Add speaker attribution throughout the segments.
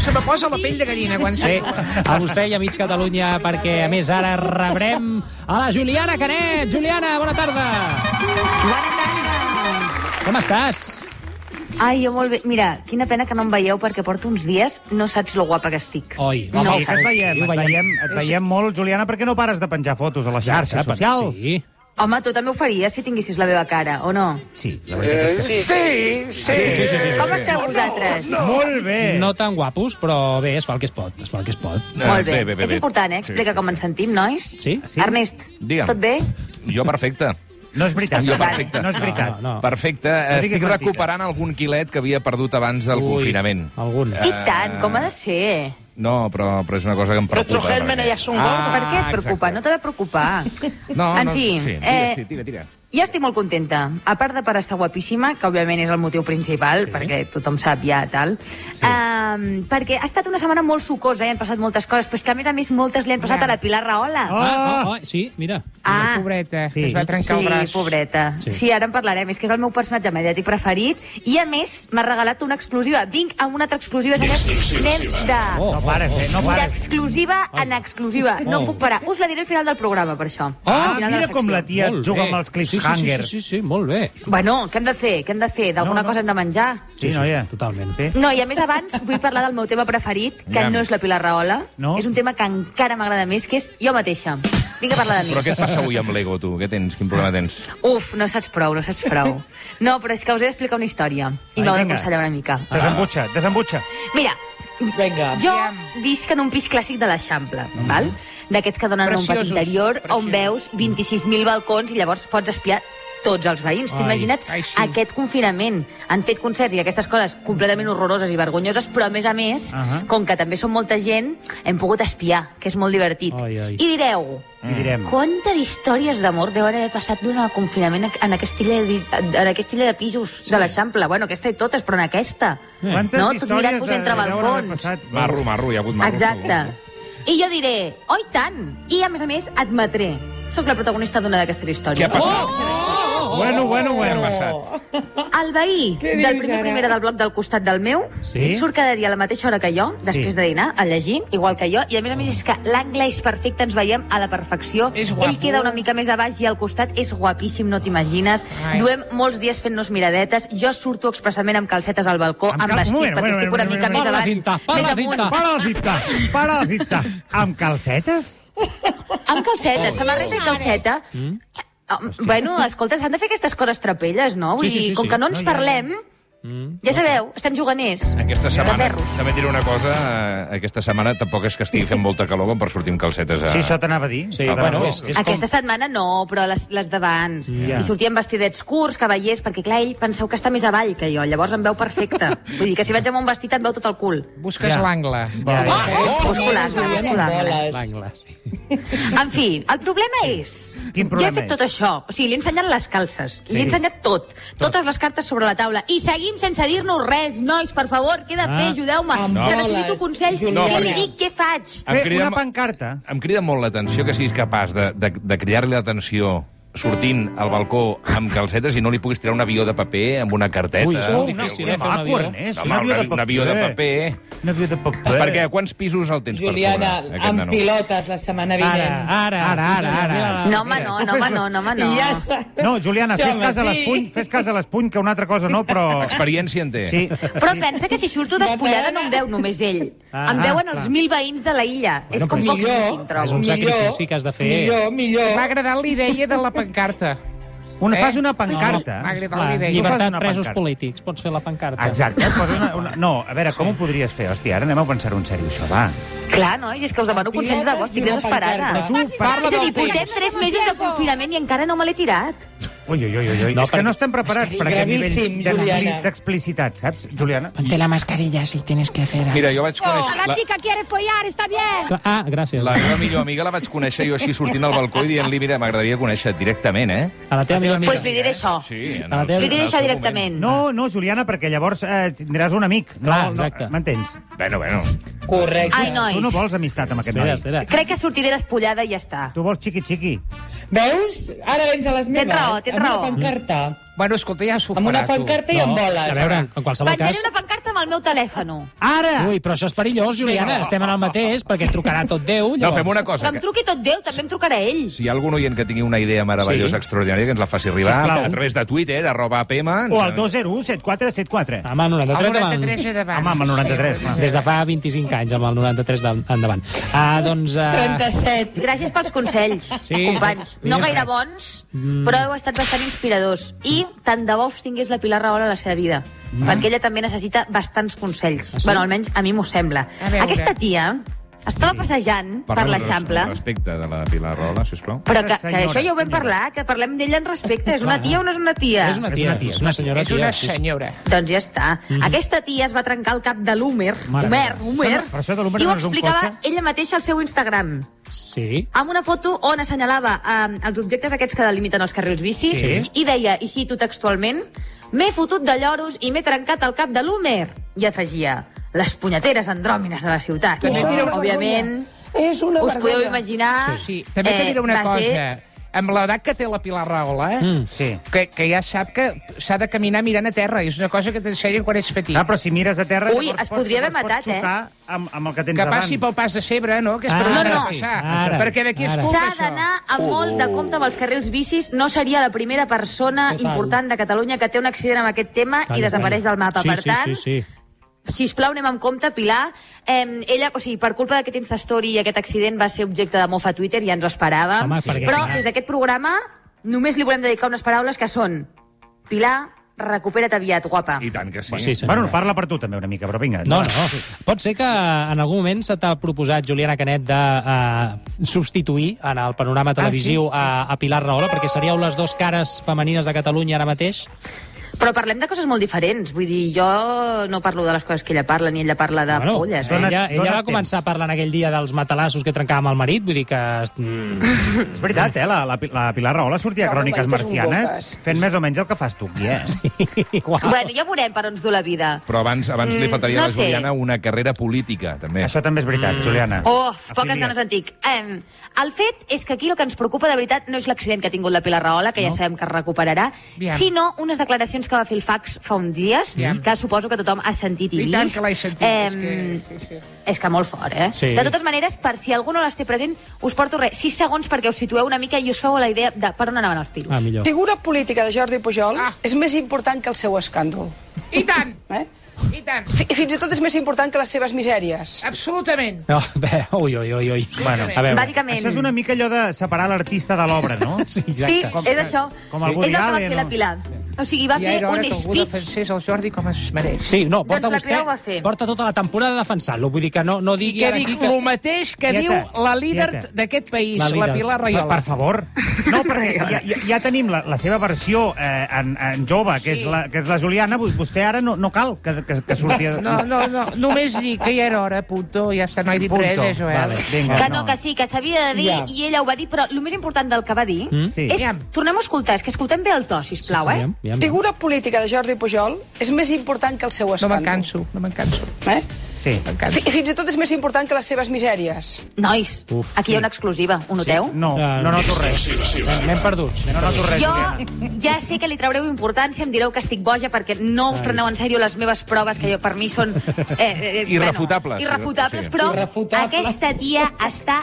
Speaker 1: Se me posa la pell de gallina quan
Speaker 2: Sí,
Speaker 1: sent.
Speaker 2: a vostè i a mig Catalunya, perquè, a més, ara rebrem a la Juliana Canet. Juliana, bona tarda. Com estàs?
Speaker 3: Ai, jo molt bé. Mira, quina pena que no em veieu perquè porto uns dies, no saps lo guapa que estic.
Speaker 2: Oi,
Speaker 3: no,
Speaker 2: home,
Speaker 3: ho
Speaker 4: Sí, que et
Speaker 3: faig.
Speaker 4: veiem, et veiem, et veiem molt, Juliana, perquè no pares de penjar fotos a les xarxes
Speaker 2: Xarxa,
Speaker 4: socials.
Speaker 2: Sí.
Speaker 3: Home, tu també ho faries si tinguessis la meva cara, o no?
Speaker 4: Sí, Eh, la veritat és que sí.
Speaker 2: Sí, sí, sí, sí.
Speaker 3: Com esteu vosaltres?
Speaker 4: Molt bé.
Speaker 2: No tan guapos, però bé, es fa el que es pot. Es fa el que es pot.
Speaker 3: Molt bé.
Speaker 5: Bé, bé, bé,
Speaker 3: És
Speaker 5: bé.
Speaker 3: important, eh? Explica com ens sentim, nois.
Speaker 2: Sí?
Speaker 4: Sí?
Speaker 3: Ernest,
Speaker 5: Digue'm.
Speaker 3: tot bé?
Speaker 5: Jo perfecte.
Speaker 4: No és veritat.
Speaker 5: Jo,
Speaker 4: Perfecte.
Speaker 5: perfecte.
Speaker 4: No és veritat.
Speaker 2: No, no,
Speaker 5: Perfecte.
Speaker 4: No diguis
Speaker 5: Estic
Speaker 4: mentides.
Speaker 5: recuperant algun quilet que havia perdut abans del
Speaker 2: Ui,
Speaker 5: confinament.
Speaker 2: algun.
Speaker 3: I
Speaker 5: Eh,
Speaker 3: tant, com ha de ser?
Speaker 5: No, però, però és una cosa que em preocupa.
Speaker 6: tus gérmenes
Speaker 5: perquè-
Speaker 6: ya son
Speaker 5: Ah,
Speaker 3: per què et preocupa?
Speaker 5: exacte.
Speaker 3: No t'ha de preocupar.
Speaker 5: No,
Speaker 3: en
Speaker 5: no,
Speaker 3: fi,
Speaker 5: sí, digues, sí,
Speaker 3: eh,
Speaker 5: tira, tira.
Speaker 3: jo estic molt contenta. A part de per estar guapíssima, que òbviament és el motiu principal, sí. perquè tothom sap ja tal, sí. um, perquè ha estat una setmana molt sucosa, eh? han passat moltes coses, però és que a més a més moltes li han passat a la Pilar Rahola.
Speaker 4: Oh!
Speaker 2: Ah, oh, oh, sí, mira.
Speaker 3: Ah,
Speaker 1: Pobreta,
Speaker 4: Sí.
Speaker 1: sí. es va trencar el
Speaker 3: sí,
Speaker 1: braç.
Speaker 3: pobreta.
Speaker 2: Sí.
Speaker 3: Sí. sí, ara en parlarem. És que és el meu personatge mediàtic preferit. I, a més, m'ha regalat una exclusiva. Vinc amb una altra exclusiva, senyors. Anem de...
Speaker 2: Oh,
Speaker 4: No pares, eh? No pares.
Speaker 3: D'exclusiva en exclusiva. No
Speaker 2: Oh.
Speaker 3: puc parar. Us la diré al final del programa, per això. Al
Speaker 4: Ah,
Speaker 3: final de la
Speaker 4: mira com
Speaker 3: secció.
Speaker 4: la tia
Speaker 2: molt
Speaker 4: juga
Speaker 2: bé.
Speaker 4: amb els
Speaker 2: sí, sí, sí,
Speaker 4: cliffhangers.
Speaker 2: sí, sí, sí, molt bé.
Speaker 3: Bueno, què hem de fer? Què hem de fer? D'alguna
Speaker 4: No, no.
Speaker 3: cosa hem de menjar?
Speaker 4: Sí, noia.
Speaker 2: totalment.
Speaker 4: Sí.
Speaker 3: No, i a més abans vull parlar del meu tema preferit, que
Speaker 5: Aviam.
Speaker 3: no és la Pilar Rahola.
Speaker 4: No?
Speaker 3: És un tema que encara m'agrada més, que és jo mateixa. Vinc a parlar de mi.
Speaker 5: Però què et passa avui amb l'ego, tu? Què tens? Quin problema tens?
Speaker 3: Uf, no saps prou, no saps prou. No, però és que us he d'explicar una història. I
Speaker 4: Ai,
Speaker 3: m'heu
Speaker 4: vinga.
Speaker 3: d'aconsellar una mica.
Speaker 4: Desembutxa, desembutxa.
Speaker 3: Mira,
Speaker 2: Vinga.
Speaker 3: jo visc en un pis clàssic de l'Eixample, val? D'aquests que donen a un pati
Speaker 1: Preciosos,
Speaker 3: interior on
Speaker 1: preciosos.
Speaker 3: veus 26.000 balcons i llavors pots espiar tots els veïns. T'ho
Speaker 2: Ai,
Speaker 3: imagina't
Speaker 1: ai, sí.
Speaker 3: aquest confinament. Han fet concerts i aquestes coses completament horroroses i vergonyoses, però a més a més,
Speaker 4: Ahà.
Speaker 3: com que també som molta gent, hem pogut espiar, que és molt divertit.
Speaker 2: Ai, ai.
Speaker 3: I direu,
Speaker 2: Mm.
Speaker 4: I direm.
Speaker 3: quantes històries d'amor deuen haver passat durant el confinament en aquesta illa de, en aquesta illa de pisos sí. de l'Eixample? Bueno, aquesta i totes, però en aquesta.
Speaker 4: Quantes
Speaker 3: no, tot
Speaker 4: històries
Speaker 3: mirant-vos
Speaker 4: de,
Speaker 3: entre
Speaker 4: deuen haver
Speaker 3: balcons.
Speaker 4: passat?
Speaker 5: Marro, marro, hi ha hagut marro.
Speaker 3: Exacte.
Speaker 5: segur.
Speaker 3: I jo diré, oi tant! I, a més a més, admetré Sóc la protagonista d'una d'aquestes històries.
Speaker 5: Què ha passat?
Speaker 4: Oh!
Speaker 5: Oh!
Speaker 4: Bueno, bueno,
Speaker 5: Què ha
Speaker 2: Oh.
Speaker 4: bueno.
Speaker 5: passat?
Speaker 3: El veí del primer primera del bloc del costat del meu
Speaker 4: Sí?
Speaker 3: surt cada dia a la mateixa hora que jo, després
Speaker 4: Sí.
Speaker 3: de dinar, a llegir, igual que jo, i a més a més és que l'angle és perfecte, ens veiem a la perfecció.
Speaker 1: És guapo.
Speaker 3: Ell queda una mica més a baix i al costat és guapíssim, no t'imagines.
Speaker 1: Ai.
Speaker 3: Duem molts dies fent-nos miradetes, jo surto expressament amb calcetes al balcó,
Speaker 4: Amb
Speaker 3: amb,
Speaker 4: cal-
Speaker 3: vestit,
Speaker 4: Un moment,
Speaker 3: perquè
Speaker 4: un moment,
Speaker 3: estic una
Speaker 4: un moment,
Speaker 3: mica
Speaker 4: un
Speaker 3: més
Speaker 4: moment.
Speaker 3: avant.
Speaker 2: Para la cinta, para
Speaker 3: més
Speaker 2: la
Speaker 3: amunt.
Speaker 2: cinta.
Speaker 4: Para la cinta, para la cinta. Amb calcetes?
Speaker 3: Amb calceta, samarreta i calceta. Mm? Bueno, escolta, s'han de fer aquestes coses trapelles, no? Vull
Speaker 2: Sí, sí,
Speaker 3: dir,
Speaker 2: sí, Mm.
Speaker 3: com
Speaker 2: sí.
Speaker 3: que no ens parlem, ja sabeu, estem juganers.
Speaker 5: Aquesta
Speaker 3: De
Speaker 5: setmana,
Speaker 3: ferros.
Speaker 5: també et diré una cosa, eh, aquesta setmana tampoc és que estigui fent molta calor com per sortir amb calcetes a...
Speaker 4: Sí, això t'anava a dir.
Speaker 2: Sí,
Speaker 5: Ah,
Speaker 4: Això t'anava
Speaker 2: bueno,
Speaker 4: a dir.
Speaker 2: és, és com...
Speaker 3: Aquesta setmana no, però les, les d'abans.
Speaker 4: Ja.
Speaker 3: I sortien vestidets curts, cavallers, perquè clar, ell penseu que està més avall que jo, llavors em veu perfecte. Vull dir que si vaig amb un vestit em veu tot el cul.
Speaker 1: Busques
Speaker 4: Ja.
Speaker 1: l'angle.
Speaker 4: Ja, ja.
Speaker 3: Muscular, muscular.
Speaker 2: L'angle, sí.
Speaker 3: En fi, el problema és... ja
Speaker 4: Quin
Speaker 3: he
Speaker 4: problema
Speaker 3: fet
Speaker 4: és?
Speaker 3: tot això. O sigui, li he ensenyat les calces,
Speaker 4: Sí.
Speaker 3: li he ensenyat tot, totes les cartes sobre la taula. I seguim sense dir-nos res, nois, per favor, què he de fer?
Speaker 2: Ah,
Speaker 3: Ajudeu-me.
Speaker 2: amb
Speaker 3: És que
Speaker 2: boles,
Speaker 3: necessito consells.
Speaker 5: Julià.
Speaker 3: què li
Speaker 5: No,
Speaker 3: dic? Què faig?
Speaker 5: Em
Speaker 4: Fer
Speaker 5: crida
Speaker 4: una
Speaker 5: mo-
Speaker 4: pancarta.
Speaker 5: Em crida molt l'atenció que siguis capaç de, de, de cridar-li l'atenció sortint al balcó amb calcetes i no li puguis tirar un avió de paper amb una carteta.
Speaker 2: Ui, és molt
Speaker 5: Ni fer
Speaker 2: difícil,
Speaker 5: alguna
Speaker 2: eh, fer un avió.
Speaker 4: Ernest,
Speaker 5: Home, un avi- un avió de paper.
Speaker 4: Un avió de paper.
Speaker 5: Perquè a quants pisos el tens
Speaker 7: Juliana,
Speaker 5: per sobre, aquest
Speaker 7: amb
Speaker 5: nano?
Speaker 7: pilotes la setmana vinent.
Speaker 2: Ara, ara,
Speaker 4: Ara, ara, ara.
Speaker 2: Ah,
Speaker 3: No, home, no,
Speaker 4: tu
Speaker 3: no,
Speaker 4: fes
Speaker 3: home,
Speaker 4: les-
Speaker 3: no, no, home, no.
Speaker 7: I ja s'ha...
Speaker 4: No, Juliana,
Speaker 7: Sí,
Speaker 4: fes
Speaker 7: home,
Speaker 4: cas a
Speaker 7: sí.
Speaker 4: l'espuny, fes cas a l'espuny, que una altra cosa no, però...
Speaker 5: Experiència en té.
Speaker 4: Sí.
Speaker 3: Però pensa que si surto despullada
Speaker 7: pena.
Speaker 3: no em veu només ell.
Speaker 4: Ah,
Speaker 3: Em veuen
Speaker 4: clar.
Speaker 3: els mil veïns de la illa. És com
Speaker 2: però
Speaker 3: poc
Speaker 7: millor.
Speaker 3: íntim,
Speaker 2: És un
Speaker 3: trobo.
Speaker 2: sacrifici que has de fer.
Speaker 7: Millor, millor.
Speaker 1: M'ha agradat la idea de la pancarta. Eh?
Speaker 4: Una, fas una
Speaker 1: M'ha
Speaker 4: pancarta.
Speaker 1: agradat
Speaker 2: Clar,
Speaker 1: la
Speaker 4: llibre-
Speaker 1: idea.
Speaker 4: fas
Speaker 2: llibertat
Speaker 4: una
Speaker 2: presos
Speaker 4: pancarta.
Speaker 2: polítics. Pots fer la pancarta.
Speaker 4: Exacte. Fas una, una... No, a veure, com ho podries fer? Hòstia, ara anem a pensar-ho en sèrio, això, va.
Speaker 3: Clar, nois, és que us demano consells de vos, estic
Speaker 7: Pilotes i una
Speaker 3: desesperada.
Speaker 7: pancarta.
Speaker 2: Ah,
Speaker 4: Tu parla
Speaker 3: És a dir,
Speaker 4: del
Speaker 3: portem tres mesos de confinament i encara no me l'he tirat.
Speaker 4: Ui, ui, ui, ui, ui.
Speaker 2: No,
Speaker 4: No, és que
Speaker 2: perquè-
Speaker 4: no estem preparats
Speaker 7: és
Speaker 4: per aquest nivell
Speaker 7: gravíssim,
Speaker 4: d'expli-
Speaker 7: Juliana.
Speaker 4: d'explicitat, saps, Juliana?
Speaker 6: Ponte la mascarilla si tienes que hacer algo.
Speaker 5: Mira, jo vaig conèixer... La,
Speaker 8: quiere follar, está bien.
Speaker 2: Ah, gràcies.
Speaker 5: la meva millor amiga la vaig conèixer jo així sortint al balcó i dient-li, mira, m'agradaria conèixer directament, eh?
Speaker 2: A la teva millor
Speaker 3: Doncs
Speaker 2: amiga.
Speaker 3: pues li
Speaker 4: eh?
Speaker 3: diré això.
Speaker 5: Sí, en
Speaker 2: A la
Speaker 5: el-
Speaker 2: teva-
Speaker 3: Li
Speaker 5: en el
Speaker 3: diré
Speaker 5: seu
Speaker 3: això
Speaker 5: moment.
Speaker 3: directament.
Speaker 4: No, no, Juliana, perquè llavors eh, tindràs un amic. No,
Speaker 2: Clar,
Speaker 4: no,
Speaker 2: exacte.
Speaker 4: M'entens?
Speaker 5: Bueno, bueno.
Speaker 7: Correcte.
Speaker 3: Ai,
Speaker 4: Tu no
Speaker 3: nois,
Speaker 4: vols amistat amb aquest
Speaker 2: Espera,
Speaker 4: noi.
Speaker 2: espera.
Speaker 3: crec que sortiré despullada i ja està.
Speaker 4: Tu vols xiqui-xiqui.
Speaker 7: Veus? Ara vens a les meves.
Speaker 3: raó, tens raó.
Speaker 7: Amb una pancarta.
Speaker 1: Bueno, escolta, ja s'ho farà,
Speaker 7: Amb una
Speaker 1: tu.
Speaker 7: pancarta i amb boles.
Speaker 2: A veure, en qualsevol
Speaker 3: Penjaré
Speaker 2: cas...
Speaker 3: una pancarta amb el meu telèfon.
Speaker 4: Ara!
Speaker 2: Ui, però això és perillós, Juliana. Estem en el mateix, perquè et trucarà tot Déu.
Speaker 5: No, fem una
Speaker 3: Que
Speaker 5: cosa.
Speaker 3: em
Speaker 5: Que,
Speaker 3: truqui tot Déu, també em trucarà ell.
Speaker 5: si hi ha algun oient que tingui una idea meravellosa,
Speaker 2: Sí.
Speaker 5: sí. extraordinària, que ens la faci arribar
Speaker 4: Sisplau.
Speaker 5: a través de Twitter, arroba APM... ens-
Speaker 4: O el 201 7474.
Speaker 2: Amb el 93
Speaker 1: El
Speaker 2: endavant.
Speaker 1: 93 de davant.
Speaker 4: Home, amb el 93. va.
Speaker 2: Des de fa 25 anys, amb el 93 de- endavant. Ah, doncs... Ah,
Speaker 7: 37.
Speaker 3: Gràcies pels consells,
Speaker 2: Sí.
Speaker 3: sí. companys. No
Speaker 2: Digues
Speaker 3: gaire
Speaker 2: res.
Speaker 3: bons, però heu estat bastant inspiradors. I tant de bo us tingués la Pilar Rahola a la seva vida. Mm. Perquè ella també necessita bastants consells.
Speaker 2: Ah, sí?
Speaker 3: Bueno, almenys a mi m'ho sembla.
Speaker 1: A veure.
Speaker 3: Aquesta tia estava passejant per
Speaker 5: Parlem
Speaker 3: l'Eixample...
Speaker 5: res- Respecte de la Pilar Rola, sisplau.
Speaker 3: Però que, que
Speaker 4: Senyora,
Speaker 3: això ja ho vam
Speaker 4: senyora.
Speaker 3: parlar, que parlem d'ella en respecte. És una tia o no és una tia?
Speaker 2: és una tia, és una, tia, és una senyora
Speaker 1: És una
Speaker 2: tia. sí, sí.
Speaker 1: senyora.
Speaker 3: Doncs ja està. Mm -hmm. Aquesta tia es va trencar el cap de l'Húmer,
Speaker 4: Mhm. Mare
Speaker 3: Homer,
Speaker 4: meva.
Speaker 3: Homer,
Speaker 4: Però això de l'Húmer
Speaker 3: i ho
Speaker 4: no és un
Speaker 3: explicava
Speaker 4: cotxe?
Speaker 3: ella mateixa al seu Instagram,
Speaker 2: Sí.
Speaker 3: amb una foto on assenyalava eh, els objectes aquests que delimiten els carrils bicis
Speaker 4: Sí.
Speaker 3: i deia, i cito textualment, m'he fotut de lloros i m'he trencat el cap de l'Húmer. I afegia, les punyeteres andròmines de la ciutat.
Speaker 6: Eso es una
Speaker 3: Òbviament,
Speaker 6: vergonya. És una
Speaker 3: us podeu
Speaker 6: vergonya.
Speaker 3: imaginar...
Speaker 1: Sí. També
Speaker 3: eh,
Speaker 1: te diré una
Speaker 3: va
Speaker 1: cosa.
Speaker 3: ser-
Speaker 1: Amb l'edat que té la Pilar Rahola, eh?
Speaker 2: Mm.
Speaker 4: Sí.
Speaker 1: que, que ja sap que s'ha de caminar mirant a terra. És una cosa que t'ensenyen quan ets petit.
Speaker 4: Ah, però si mires a terra...
Speaker 3: Ui,
Speaker 4: llavors
Speaker 3: es podria
Speaker 4: pots-
Speaker 3: haver
Speaker 4: llavors pots
Speaker 3: matat, eh?
Speaker 4: xocar Amb, amb el que tens
Speaker 1: que
Speaker 4: davant.
Speaker 1: passi pel pas de cebre, no? Que és per
Speaker 2: Ah,
Speaker 1: on
Speaker 3: no,
Speaker 1: s'ha de
Speaker 3: no.
Speaker 1: passar.
Speaker 2: Ara.
Speaker 1: Perquè d'aquí es
Speaker 2: Ara.
Speaker 1: culpa,
Speaker 3: S'ha
Speaker 1: això.
Speaker 3: d'anar amb molt de compte amb els carrils bicis. No seria la primera persona
Speaker 2: Total.
Speaker 3: important de Catalunya que té un accident amb aquest tema i desapareix del mapa.
Speaker 2: Sí,
Speaker 3: per
Speaker 2: sí, sí,
Speaker 3: tant,
Speaker 2: sí.
Speaker 3: sisplau, anem amb compte, Pilar. Eh, ella, o sigui, per culpa d'aquest Instastory i aquest accident va ser objecte de mofa a Twitter, ja ens ho esperàvem.
Speaker 2: Home, perquè,
Speaker 3: Però
Speaker 2: clar.
Speaker 3: des d'aquest programa només li volem dedicar unes paraules que són Pilar, recupera't aviat, guapa.
Speaker 5: I tant que sí.
Speaker 2: Home, sí, senyora.
Speaker 4: Bueno, parla per tu també una mica, però vinga.
Speaker 2: No,
Speaker 4: endavant.
Speaker 2: no. Pot ser que en algun moment se t'ha proposat, Juliana Canet, de uh, substituir en el panorama televisiu ah, sí, sí, sí. A, a Pilar Rahola, perquè seríeu les dues cares femenines de Catalunya ara mateix?
Speaker 3: Però parlem de coses molt diferents. Vull dir, jo no parlo de les coses que ella parla, ni ella parla de polles. eh?
Speaker 4: dona-
Speaker 2: ella, ella
Speaker 4: dona
Speaker 2: va començar parlant aquell dia dels matalassos que trencava amb el marit, vull dir que... Mm,
Speaker 4: És veritat, eh? La, la, Pi- la Pilar Rahola sortia a Cròniques Marcianes fent més o menys el que fas tu, aquí, eh?
Speaker 2: igual.
Speaker 3: Bueno, ja veurem per on ens du la vida.
Speaker 5: Però abans, abans li faltaria
Speaker 3: no
Speaker 5: a la
Speaker 3: sé.
Speaker 5: Juliana una carrera política, també.
Speaker 4: Això també és veritat, Juliana.
Speaker 3: Oh, poques
Speaker 4: Afilia't.
Speaker 3: ganes en tinc. Um, el fet és que aquí el que ens preocupa de veritat no és l'accident que ha tingut la Pilar Rahola, que no. ja sabem que es recuperarà,
Speaker 1: Aviam.
Speaker 3: sinó unes declaracions que va fer el fax fa uns dies,
Speaker 1: Aviam.
Speaker 3: que suposo que tothom ha sentit i,
Speaker 1: I
Speaker 3: vist.
Speaker 1: tant que l'he sentit. és
Speaker 3: Em,
Speaker 1: que... sí, sí.
Speaker 3: és que molt fort, eh?
Speaker 2: Sí.
Speaker 3: De totes maneres, per si algú no les té present, us porto res, 6 segons perquè us situeu una mica i us feu la idea de per on anaven els tiros.
Speaker 2: Ah, millor.
Speaker 6: Figura política de Jordi Pujol
Speaker 1: Ah.
Speaker 6: és més important que el seu escàndol.
Speaker 1: I tant,
Speaker 6: Eh?
Speaker 1: i tant.
Speaker 6: Fi- Fins i tot és més important que les seves misèries.
Speaker 1: Absolutament.
Speaker 2: No, bé, ui, ui, ui, ui. Bueno, a veure.
Speaker 3: Bàsicament.
Speaker 4: Això és una mica allò de separar l'artista de l'obra, no?
Speaker 2: Sí,
Speaker 3: Sí,
Speaker 2: exacte.
Speaker 3: és això.
Speaker 4: Com el
Speaker 3: és el
Speaker 4: Woody
Speaker 3: que va
Speaker 4: Allen,
Speaker 3: fer la
Speaker 4: no?
Speaker 3: Pilar. O sigui, va
Speaker 1: ja
Speaker 3: fer
Speaker 1: era hora
Speaker 3: un
Speaker 1: que algú
Speaker 3: speech
Speaker 1: defensés el Jordi com es mereix.
Speaker 2: Sí, no, porta
Speaker 3: Doncs la
Speaker 2: vostè...
Speaker 3: Pilar ho va fer.
Speaker 2: Porta tota la temporada defensant-lo, vull dir que no, no
Speaker 1: I
Speaker 2: digui
Speaker 1: que
Speaker 2: ara
Speaker 1: dic
Speaker 2: aquí
Speaker 1: que...
Speaker 2: que...
Speaker 1: el mateix que
Speaker 4: Tieta,
Speaker 1: diu la líder
Speaker 4: tieta.
Speaker 1: d'aquest país,
Speaker 2: La
Speaker 1: la,
Speaker 2: líder.
Speaker 1: Pilar
Speaker 4: Per,
Speaker 1: Rayola.
Speaker 4: per favor. No, perquè ja, ja, ja tenim la, la seva versió eh, en, en jove, que, és la, que és la Juliana. Vo- Vostè ara no, no cal que, que, que surti...
Speaker 1: No, no, no, només dic que ja era hora, punto, ja està, no he dit
Speaker 4: Punto.
Speaker 1: res, eh, Joel.
Speaker 4: Vale, vinga,
Speaker 3: Que no, que sí, que s'havia de dir,
Speaker 7: Ja.
Speaker 3: i ella ho va dir, però el més important del que va dir
Speaker 2: Mm?
Speaker 4: Sí.
Speaker 3: és...
Speaker 1: Aviam.
Speaker 3: Tornem a escoltar, és que escoltem bé el to, sisplau, eh?
Speaker 2: Aviam, aviam.
Speaker 6: Figura política de Jordi Pujol és més important que el seu
Speaker 1: No me'n
Speaker 6: escàndol.
Speaker 1: canso, no me'n canso.
Speaker 6: eh?
Speaker 4: Sí.
Speaker 1: me'n
Speaker 6: Fi-
Speaker 1: canso.
Speaker 6: Fins i tot és més important que les seves misèries.
Speaker 3: Nois,
Speaker 2: Uf,
Speaker 3: aquí hi ha una exclusiva, ho noteu?
Speaker 4: No, no noto res.
Speaker 2: Anem perduts.
Speaker 4: No noto res,
Speaker 3: Jo
Speaker 4: Juliana.
Speaker 3: ja sé que li traureu importància, em direu que estic boja perquè no us preneu en sèrio les meves proves, que jo, per mi són... Eh, eh,
Speaker 5: Irrefutables.
Speaker 3: Bueno, irrefutables,
Speaker 5: Sí.
Speaker 3: però
Speaker 7: Irrefutables.
Speaker 3: aquesta tia està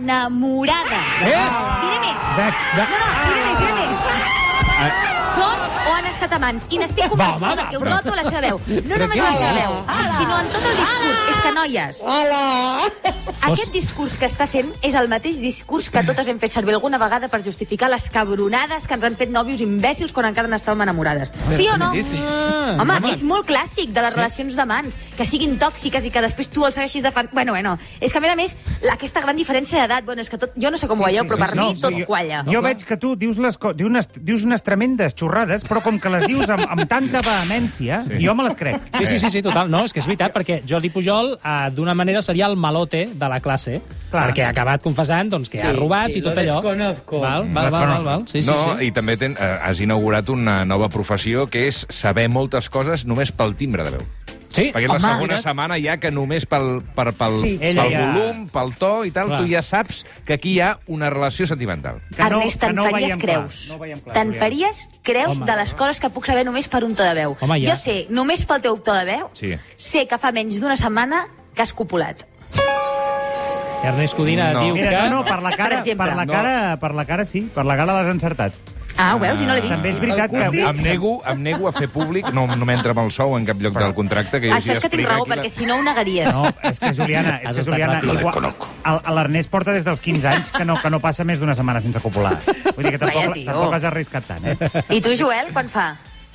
Speaker 3: enamorada. Eh? Diré més. No, no, diré més, diré més. Són o han estat amants. I n'estic convençuda, perquè ho noto a la seva veu. No només a la seva veu, sinó en tot el discurs. És que, noies,
Speaker 7: Hola!
Speaker 3: aquest discurs que està fent és el mateix discurs que totes hem fet servir alguna vegada per justificar les cabronades que ens han fet nòvios imbècils quan encara n'estàvem enamorades. Sí o no? Mm.
Speaker 2: Ah,
Speaker 3: Home,
Speaker 2: home.
Speaker 3: és molt clàssic de les relacions d'amants, que siguin tòxiques i que després tu els segueixis de fan... Bueno, bueno, és que a més a més, la- aquesta gran diferència d'edat, bueno, és que tot... Jo no sé com ho veieu, però per mi tot
Speaker 4: jo-
Speaker 3: qualla.
Speaker 4: Jo veig que tu dius, les, co- dius, unes, dius unes tremendes xorrades, però com que les dius amb, amb tanta vehemència, sí. jo me les crec.
Speaker 5: Eh,
Speaker 2: Sí, sí, sí, sí, total. No, és que és veritat, perquè Jordi Pujol, eh, d'una manera, seria el malote de la classe, Clar.
Speaker 4: Clar.
Speaker 2: perquè ha acabat confessant doncs, que
Speaker 7: Sí,
Speaker 2: ha robat
Speaker 7: sí,
Speaker 2: i tot
Speaker 7: lo
Speaker 2: allò.
Speaker 7: desconozco.
Speaker 2: Val, val, val, val, val. Sí,
Speaker 5: Mm. no,
Speaker 2: sí, sí.
Speaker 5: i també ten, eh, has inaugurat una nova professió que és saber moltes coses només pel timbre de veu.
Speaker 2: Sí.
Speaker 5: Perquè és la
Speaker 3: Home,
Speaker 5: segona
Speaker 2: mira.
Speaker 5: setmana ja que només pel, per, pel,
Speaker 7: Sí.
Speaker 5: pel
Speaker 4: Ella ja-
Speaker 5: volum, pel to i tal,
Speaker 2: Clar.
Speaker 5: tu ja saps que aquí hi ha una relació sentimental.
Speaker 4: Que no-
Speaker 3: Ernest,
Speaker 4: que
Speaker 3: te'n
Speaker 4: no ho
Speaker 3: faries
Speaker 4: veiem
Speaker 3: creus.
Speaker 4: clar, no ho veiem clar,
Speaker 3: te'n
Speaker 4: Juliana.
Speaker 3: faries creus
Speaker 2: Home.
Speaker 3: de les coses que puc saber només per un to de veu.
Speaker 2: Home, ja.
Speaker 3: Jo sé, només pel teu to de veu,
Speaker 5: Sí.
Speaker 3: sé que fa menys d'una setmana que has copulat.
Speaker 2: Ernest Codina
Speaker 5: No.
Speaker 2: diu
Speaker 4: Mira,
Speaker 2: que...
Speaker 4: no, no, per la
Speaker 3: Per
Speaker 4: cara, per,
Speaker 3: exemple.
Speaker 4: la
Speaker 5: No.
Speaker 4: cara, per la cara sí, per la cara l'has encertat.
Speaker 3: Ah, ho veus? I no l'he vist.
Speaker 4: També és veritat que...
Speaker 5: Em, em, nego, em nego a fer públic, no, no m'entra amb el sou en cap lloc del contracte. Que
Speaker 3: Això és que tinc raó, perquè si no ho negaries.
Speaker 4: No, és que Juliana, és
Speaker 2: Has
Speaker 4: que
Speaker 2: estat
Speaker 4: Juliana...
Speaker 2: ràpida.
Speaker 4: Igual, el- a l'Ernest porta des dels 15 anys que no, que no passa més d'una setmana sense copular. Vull dir que
Speaker 3: Vaya,
Speaker 4: tampoc,
Speaker 3: tio.
Speaker 4: tampoc has arriscat tant, eh?
Speaker 3: I tu, Joel, quan fa?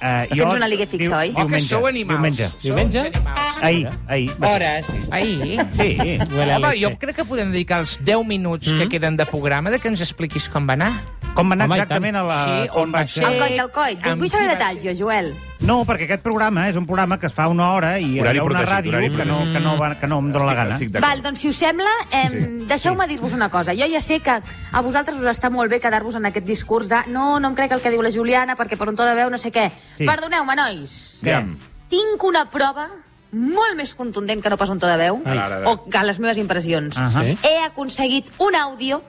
Speaker 4: eh
Speaker 3: Tens una liga fixa, oi?
Speaker 2: Ah,
Speaker 5: Oh, que sou animals.
Speaker 4: Diumenge.
Speaker 2: Diumenge?
Speaker 4: Ahir, ahir. va ser.
Speaker 7: Hores.
Speaker 1: Ai,
Speaker 4: Sí.
Speaker 2: Huele a
Speaker 1: Home,
Speaker 2: leche.
Speaker 1: jo crec que podem dedicar els 10 minuts
Speaker 2: Mm.
Speaker 1: que queden de programa de que ens expliquis com va anar.
Speaker 4: Com va anar
Speaker 2: Home, i
Speaker 4: exactament a la...
Speaker 1: Sí,
Speaker 4: com
Speaker 1: on
Speaker 4: va
Speaker 1: va
Speaker 4: ser?
Speaker 1: ser?
Speaker 3: El coll del coll.
Speaker 1: Amb
Speaker 3: Vull saber
Speaker 1: qui va
Speaker 3: detalls, jo, Joel.
Speaker 4: No, perquè aquest programa és un programa que es fa una hora i hi
Speaker 5: Horari
Speaker 4: ha una
Speaker 5: protegit,
Speaker 4: ràdio
Speaker 5: horari
Speaker 4: que no,
Speaker 5: protegit.
Speaker 4: que, no, va- que no em dóna la gana.
Speaker 5: Estic
Speaker 3: Val,
Speaker 5: d'acord.
Speaker 3: doncs, si us sembla, eh, deixeu-me dir-vos una cosa. Jo ja sé que a vosaltres us està molt bé quedar-vos en aquest discurs de no, no em crec el que diu la Juliana perquè per un to de veu no sé què.
Speaker 4: Sí.
Speaker 3: Perdoneu-me, nois.
Speaker 4: Què?
Speaker 3: Tinc una prova molt més contundent que no pas un to de veu
Speaker 2: Ai.
Speaker 3: o que les meves impressions.
Speaker 4: Ahà.
Speaker 2: Sí.
Speaker 3: He aconseguit un àudio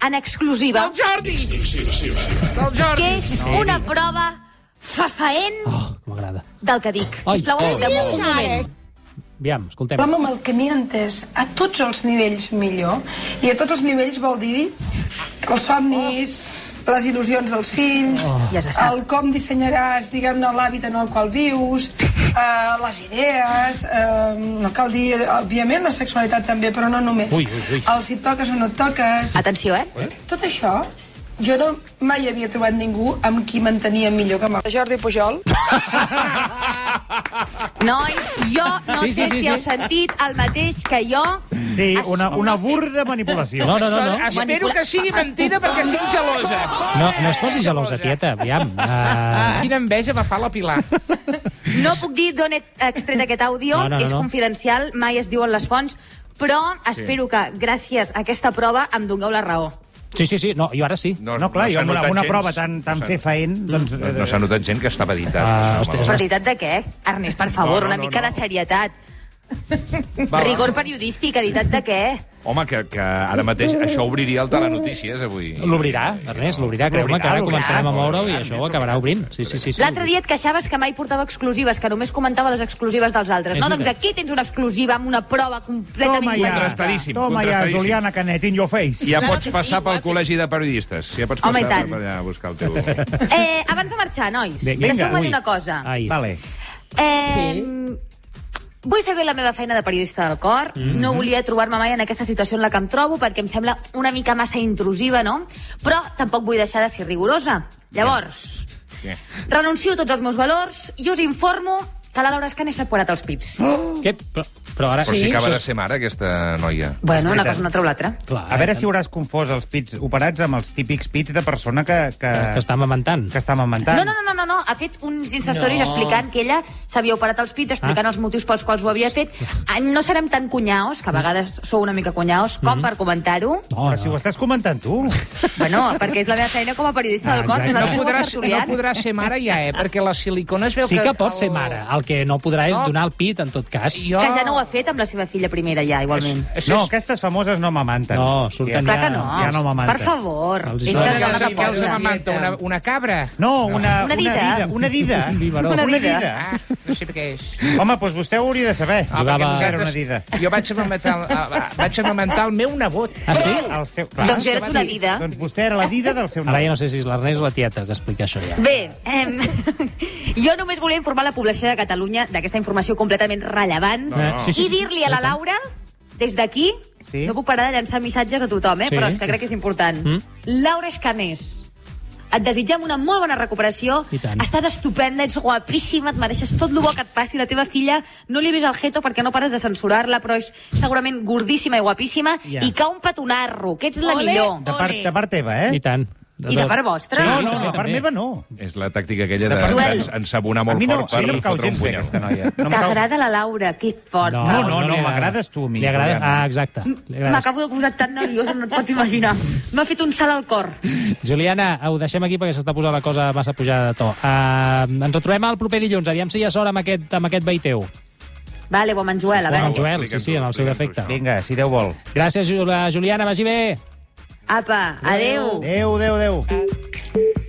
Speaker 3: en
Speaker 5: Oh,
Speaker 3: exclusiva
Speaker 1: Jordi! El Jordi!
Speaker 3: que és una prova fafaent
Speaker 2: Oh, que m'agrada.
Speaker 3: del que dic.
Speaker 2: Ai. oh.
Speaker 3: Sisplau, aguanteu un moment.
Speaker 2: Aviam, escoltem.
Speaker 6: L'home amb el que m'he entès a tots els nivells millor, i a tots els nivells vol dir els somnis, les il·lusions dels fills,
Speaker 3: Ja se sap.
Speaker 6: el com dissenyaràs, diguem-ne, l'hàbit en el qual vius, eh, les idees, eh, no cal dir, òbviament, la sexualitat també, però no només.
Speaker 2: Ui, ui, ui.
Speaker 6: El si et toques o no et toques...
Speaker 3: Atenció, eh?
Speaker 6: Tot això, jo no mai havia trobat ningú amb qui mantenia millor que amb el... Jordi Pujol.
Speaker 3: Nois, jo no
Speaker 2: Sí, sí,
Speaker 3: sé
Speaker 2: sí,
Speaker 3: si
Speaker 2: sí.
Speaker 3: heu sentit el mateix que jo.
Speaker 4: Sí, una, una
Speaker 3: No sé.
Speaker 4: burda manipulació.
Speaker 2: No, no, no, no.
Speaker 1: Espero que sigui mentida perquè estic gelosa.
Speaker 2: No, no es posis gelosa, tieta, aviam. Uh...
Speaker 1: Quina enveja va fer la Pilar.
Speaker 3: No puc dir d'on he extret aquest àudio,
Speaker 2: No, no, no,
Speaker 3: és
Speaker 2: no.
Speaker 3: confidencial, mai es diuen les fonts, però espero que gràcies a aquesta prova em dongueu la raó.
Speaker 2: Sí, sí, sí, no, jo ara sí.
Speaker 4: No, clar, jo
Speaker 5: s'ha
Speaker 4: amb una,
Speaker 5: notat
Speaker 4: una
Speaker 5: gens.
Speaker 4: prova tan, tan
Speaker 5: No s'ha-
Speaker 4: fefaent... Doncs,
Speaker 5: No, no s'ha notat gent que estava editat.
Speaker 2: Ah,
Speaker 5: Home,
Speaker 2: ostres.
Speaker 3: Però veritat de què? Ernest, per favor,
Speaker 5: No, no,
Speaker 3: una
Speaker 5: no,
Speaker 3: mica
Speaker 5: no.
Speaker 3: de serietat.
Speaker 5: va.
Speaker 3: Rigor periodístic, veritat de què?
Speaker 5: Home, que, que ara mateix
Speaker 4: Uh.
Speaker 5: això obriria el Telenotícies, avui.
Speaker 2: L'obrirà, Ernest, l'obrirà, creu-me, que ara
Speaker 4: l'obrirà.
Speaker 2: començarem a moure-ho i això ho acabarà obrint. Sí, sí, sí. sí.
Speaker 3: L'altre dia et queixaves que mai portava exclusives, que només comentava les exclusives dels altres.
Speaker 2: És
Speaker 3: No, doncs
Speaker 2: veritat.
Speaker 3: aquí tens una exclusiva amb una prova completament...
Speaker 4: Toma ja,
Speaker 5: Contrastadíssim,
Speaker 4: toma ja,
Speaker 5: contrastadíssim.
Speaker 4: Juliana Canet, in your face.
Speaker 5: Ja pots passar pel col·legi de periodistes. Ja pots
Speaker 3: Home, i
Speaker 5: passar
Speaker 3: tant.
Speaker 5: per allà a buscar el teu...
Speaker 3: Eh, abans de marxar, nois,
Speaker 4: Vinga,
Speaker 3: deixeu-me
Speaker 2: ui.
Speaker 3: dir una cosa.
Speaker 2: Ai.
Speaker 4: Vale.
Speaker 3: Eh, Vull fer bé la meva feina de periodista del cor. No volia trobar-me mai en aquesta situació en la que em trobo perquè em sembla una mica massa intrusiva, no? Però tampoc vull deixar de ser rigorosa. Llavors,
Speaker 5: Bé.
Speaker 3: renuncio a tots els meus valors i us informo que la Laura Escane s'ha curat els pits.
Speaker 2: Què? Però, però ara...
Speaker 5: Però si acaba
Speaker 2: això
Speaker 5: de
Speaker 2: és-
Speaker 5: ser mare, aquesta noia.
Speaker 3: Bueno, una
Speaker 4: veritat.
Speaker 3: cosa no treu l'altra.
Speaker 2: Clar,
Speaker 4: A
Speaker 5: eh,
Speaker 4: veure si hauràs confós els pits operats amb els típics pits de persona que... Que,
Speaker 2: eh, Que està amamentant.
Speaker 4: que està amamentant.
Speaker 3: No, no, no, no, no, no. ha fet uns instastories
Speaker 7: No.
Speaker 3: explicant que ella s'havia operat els pits, explicant els motius pels quals ho havia fet. Ah, No serem tan cunyaos, que a vegades sou una mica cunyaos, com per comentar-ho.
Speaker 2: No,
Speaker 4: Però si ho
Speaker 2: no.
Speaker 4: estàs comentant tu.
Speaker 3: Bueno, perquè és la meva feina com a periodista del cor.
Speaker 2: exacte.
Speaker 1: No
Speaker 3: Nosaltres som
Speaker 1: podrà,
Speaker 3: els
Speaker 1: no
Speaker 3: tertulians.
Speaker 1: podrà ser mare ja, eh? Perquè la silicona es veu
Speaker 2: Sí
Speaker 1: que...
Speaker 2: que pot ser
Speaker 1: el-
Speaker 2: mare. El que no podrà és
Speaker 1: No.
Speaker 2: donar el pit, en tot cas.
Speaker 1: Jo-
Speaker 3: Que ja no ho ha fet amb la seva filla primera, ja, igualment.
Speaker 1: Això
Speaker 4: No,
Speaker 1: és-
Speaker 4: aquestes famoses no m'amanten.
Speaker 2: No, surten
Speaker 3: Clar
Speaker 2: ja-
Speaker 3: que no.
Speaker 4: ja no m'amanten.
Speaker 3: per favor.
Speaker 2: Els
Speaker 3: És
Speaker 2: donen Ja
Speaker 3: de
Speaker 1: Dona que
Speaker 2: no
Speaker 1: els,
Speaker 3: cara
Speaker 2: sí,
Speaker 1: que els
Speaker 7: ja
Speaker 3: pobra.
Speaker 7: no.
Speaker 1: amamanta una, una cabra.
Speaker 4: No, una,
Speaker 3: Una dida.
Speaker 4: Una dida.
Speaker 2: Un biberó.
Speaker 3: Una
Speaker 4: Una
Speaker 3: dida.
Speaker 4: dida.
Speaker 1: Ah, no sé què és.
Speaker 4: Home, doncs vostè ho hauria de saber.
Speaker 2: Ah, Jugava-
Speaker 1: perquè
Speaker 4: Era una dida.
Speaker 1: Jo vaig amamentar, el- a- a- vaig amamentar el meu nebot.
Speaker 2: Ah, sí?
Speaker 4: El seu... Clar,
Speaker 3: Doncs eres una vida.
Speaker 4: Doncs vostè era la dida del seu
Speaker 2: Ara
Speaker 4: nom.
Speaker 2: ja no sé si és l'Ernest o la tieta que explica això ja.
Speaker 3: Bé, ehm, jo només volia informar la població de Catalunya d'aquesta informació completament rellevant
Speaker 5: No, no.
Speaker 2: Sí, sí,
Speaker 3: i
Speaker 2: sí.
Speaker 3: dir-li a la Laura, des d'aquí,
Speaker 4: Sí.
Speaker 3: no puc parar de llançar missatges a tothom, eh,
Speaker 2: Sí,
Speaker 3: però és
Speaker 2: sí. Mm.
Speaker 3: que crec que és important. Laura Escanés, et desitgem una molt bona recuperació.
Speaker 2: I tant.
Speaker 3: Estàs estupenda, ets guapíssima, et mereixes tot el bo que et passi. La teva filla no li ves el jeto perquè no pares de censurar-la, però és segurament gordíssima i guapíssima
Speaker 4: Ja.
Speaker 3: i cau un petonarro, que ets la
Speaker 8: Ole.
Speaker 3: millor.
Speaker 4: De part, de part teva, eh?
Speaker 2: I tant.
Speaker 3: I de part vostra?
Speaker 4: No,
Speaker 3: Sí,
Speaker 4: no,
Speaker 2: també,
Speaker 4: de part
Speaker 2: també.
Speaker 4: meva no.
Speaker 5: És la tàctica aquella de,
Speaker 4: De
Speaker 5: de
Speaker 3: Joel.
Speaker 5: ensabonar
Speaker 4: A
Speaker 5: molt
Speaker 4: mi no,
Speaker 5: fort
Speaker 4: a mi no
Speaker 5: per
Speaker 4: em cau
Speaker 5: fotre un
Speaker 4: gens bé,
Speaker 5: punyal.
Speaker 4: aquesta noia. No em cau-
Speaker 3: T'agrada la Laura, que fort.
Speaker 4: No, no,
Speaker 2: li
Speaker 4: no,
Speaker 2: agrada.
Speaker 4: m'agrades tu a mi,
Speaker 2: Li agrada...
Speaker 4: Juliana.
Speaker 2: Ah, exacte. Li agrades.
Speaker 3: M'acabo de posar tan nerviosa, no et pots imaginar. M'ha fet un salt al cor.
Speaker 2: Juliana, ho deixem aquí perquè s'està posant la Ah, cosa massa pujada de to. Uh, ens retrobem el proper dilluns. Aviam si hi ha sort amb aquest, amb aquest veí teu.
Speaker 3: Vale, Woman Joel, a
Speaker 2: Bueno,
Speaker 3: veure.
Speaker 2: Joel, sí, sí, en el seu defecte.
Speaker 4: Vinga, si Déu vol.
Speaker 2: Gràcies, Ju- Juliana, vagi bé.
Speaker 3: Apa, adeu.
Speaker 4: Déu, Déu, Déu.